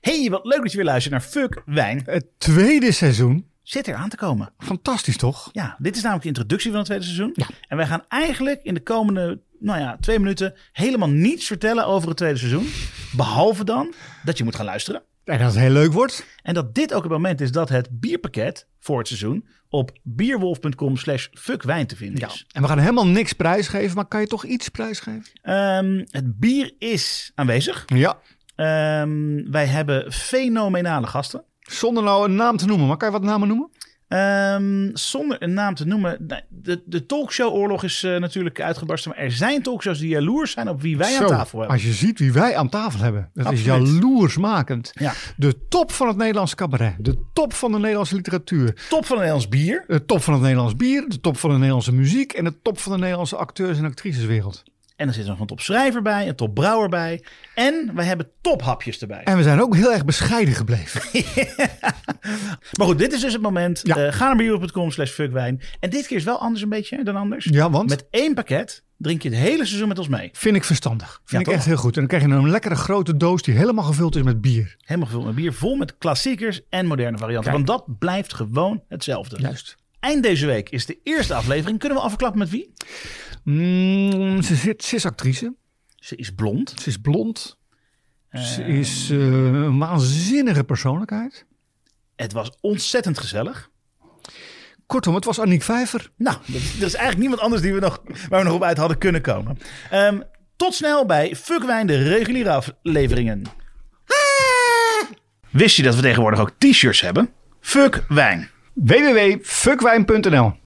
Hey, wat leuk dat je weer luistert naar Fuck Wijn. Het tweede seizoen. Zit er aan te komen. Fantastisch toch? Ja, dit is namelijk de introductie van het tweede seizoen. Ja. En wij gaan eigenlijk in de komende, nou ja, twee minuten helemaal niets vertellen over het tweede seizoen. Behalve dan dat je moet gaan luisteren. En dat het heel leuk wordt. En dat dit ook het moment is dat het bierpakket voor het seizoen op bierwolf.com slash fuckwijn te vinden is. En we gaan helemaal niks prijsgeven, maar kan je toch iets prijsgeven? Ehm, het bier is aanwezig. Ja. Ehm, wij hebben fenomenale gasten. Zonder nou een naam te noemen, maar kan je wat namen noemen? Ehm, zonder een naam te noemen. nou, De, de talkshow-oorlog is eh, natuurlijk uitgebarsten. Maar er zijn talkshows die jaloers zijn op wie wij Zo, aan tafel hebben. Als je ziet wie wij aan tafel hebben, dat Absoluut. is jaloersmakend. Ja. De top van het Nederlands cabaret, de top van de Nederlandse literatuur, Top van een Nederlands bier. de top van het Nederlands bier, de top van de Nederlandse muziek en de top van de Nederlandse acteurs- en actriceswereld. En er zit nog een topschrijver bij, een topbrouwer bij. En wij hebben tophapjes erbij. En we zijn ook heel erg bescheiden gebleven. Maar goed, dit is dus het moment. Ja. Eh, ga naar bierop.com slash fuckwijn. En dit keer is wel anders een beetje dan anders. Ja, want Met één pakket drink je het hele seizoen met ons mee. vind ik verstandig. Vind Ja, ik toch? echt heel goed. En dan krijg je een lekkere grote doos die helemaal gevuld is met bier. Helemaal gevuld met bier, vol met klassiekers en moderne varianten. Kijk. Want dat blijft gewoon hetzelfde. Juist. Eind deze week is de eerste aflevering. Kunnen we afklappen met wie? Mm, ze, zit, ze is actrice. Ze is blond. Ze is blond. Ze is eh, een waanzinnige persoonlijkheid. Het was ontzettend gezellig. Kortom, het was Annick Vijver. Nou, dat, dat is eigenlijk niemand anders die we nog, waar we nog op uit hadden kunnen komen. Ehm, tot snel bij Fuckwijn, de reguliere afleveringen. Wist je dat we tegenwoordig ook t-shirts hebben? Fuckwijn. www.fuckwijn.nl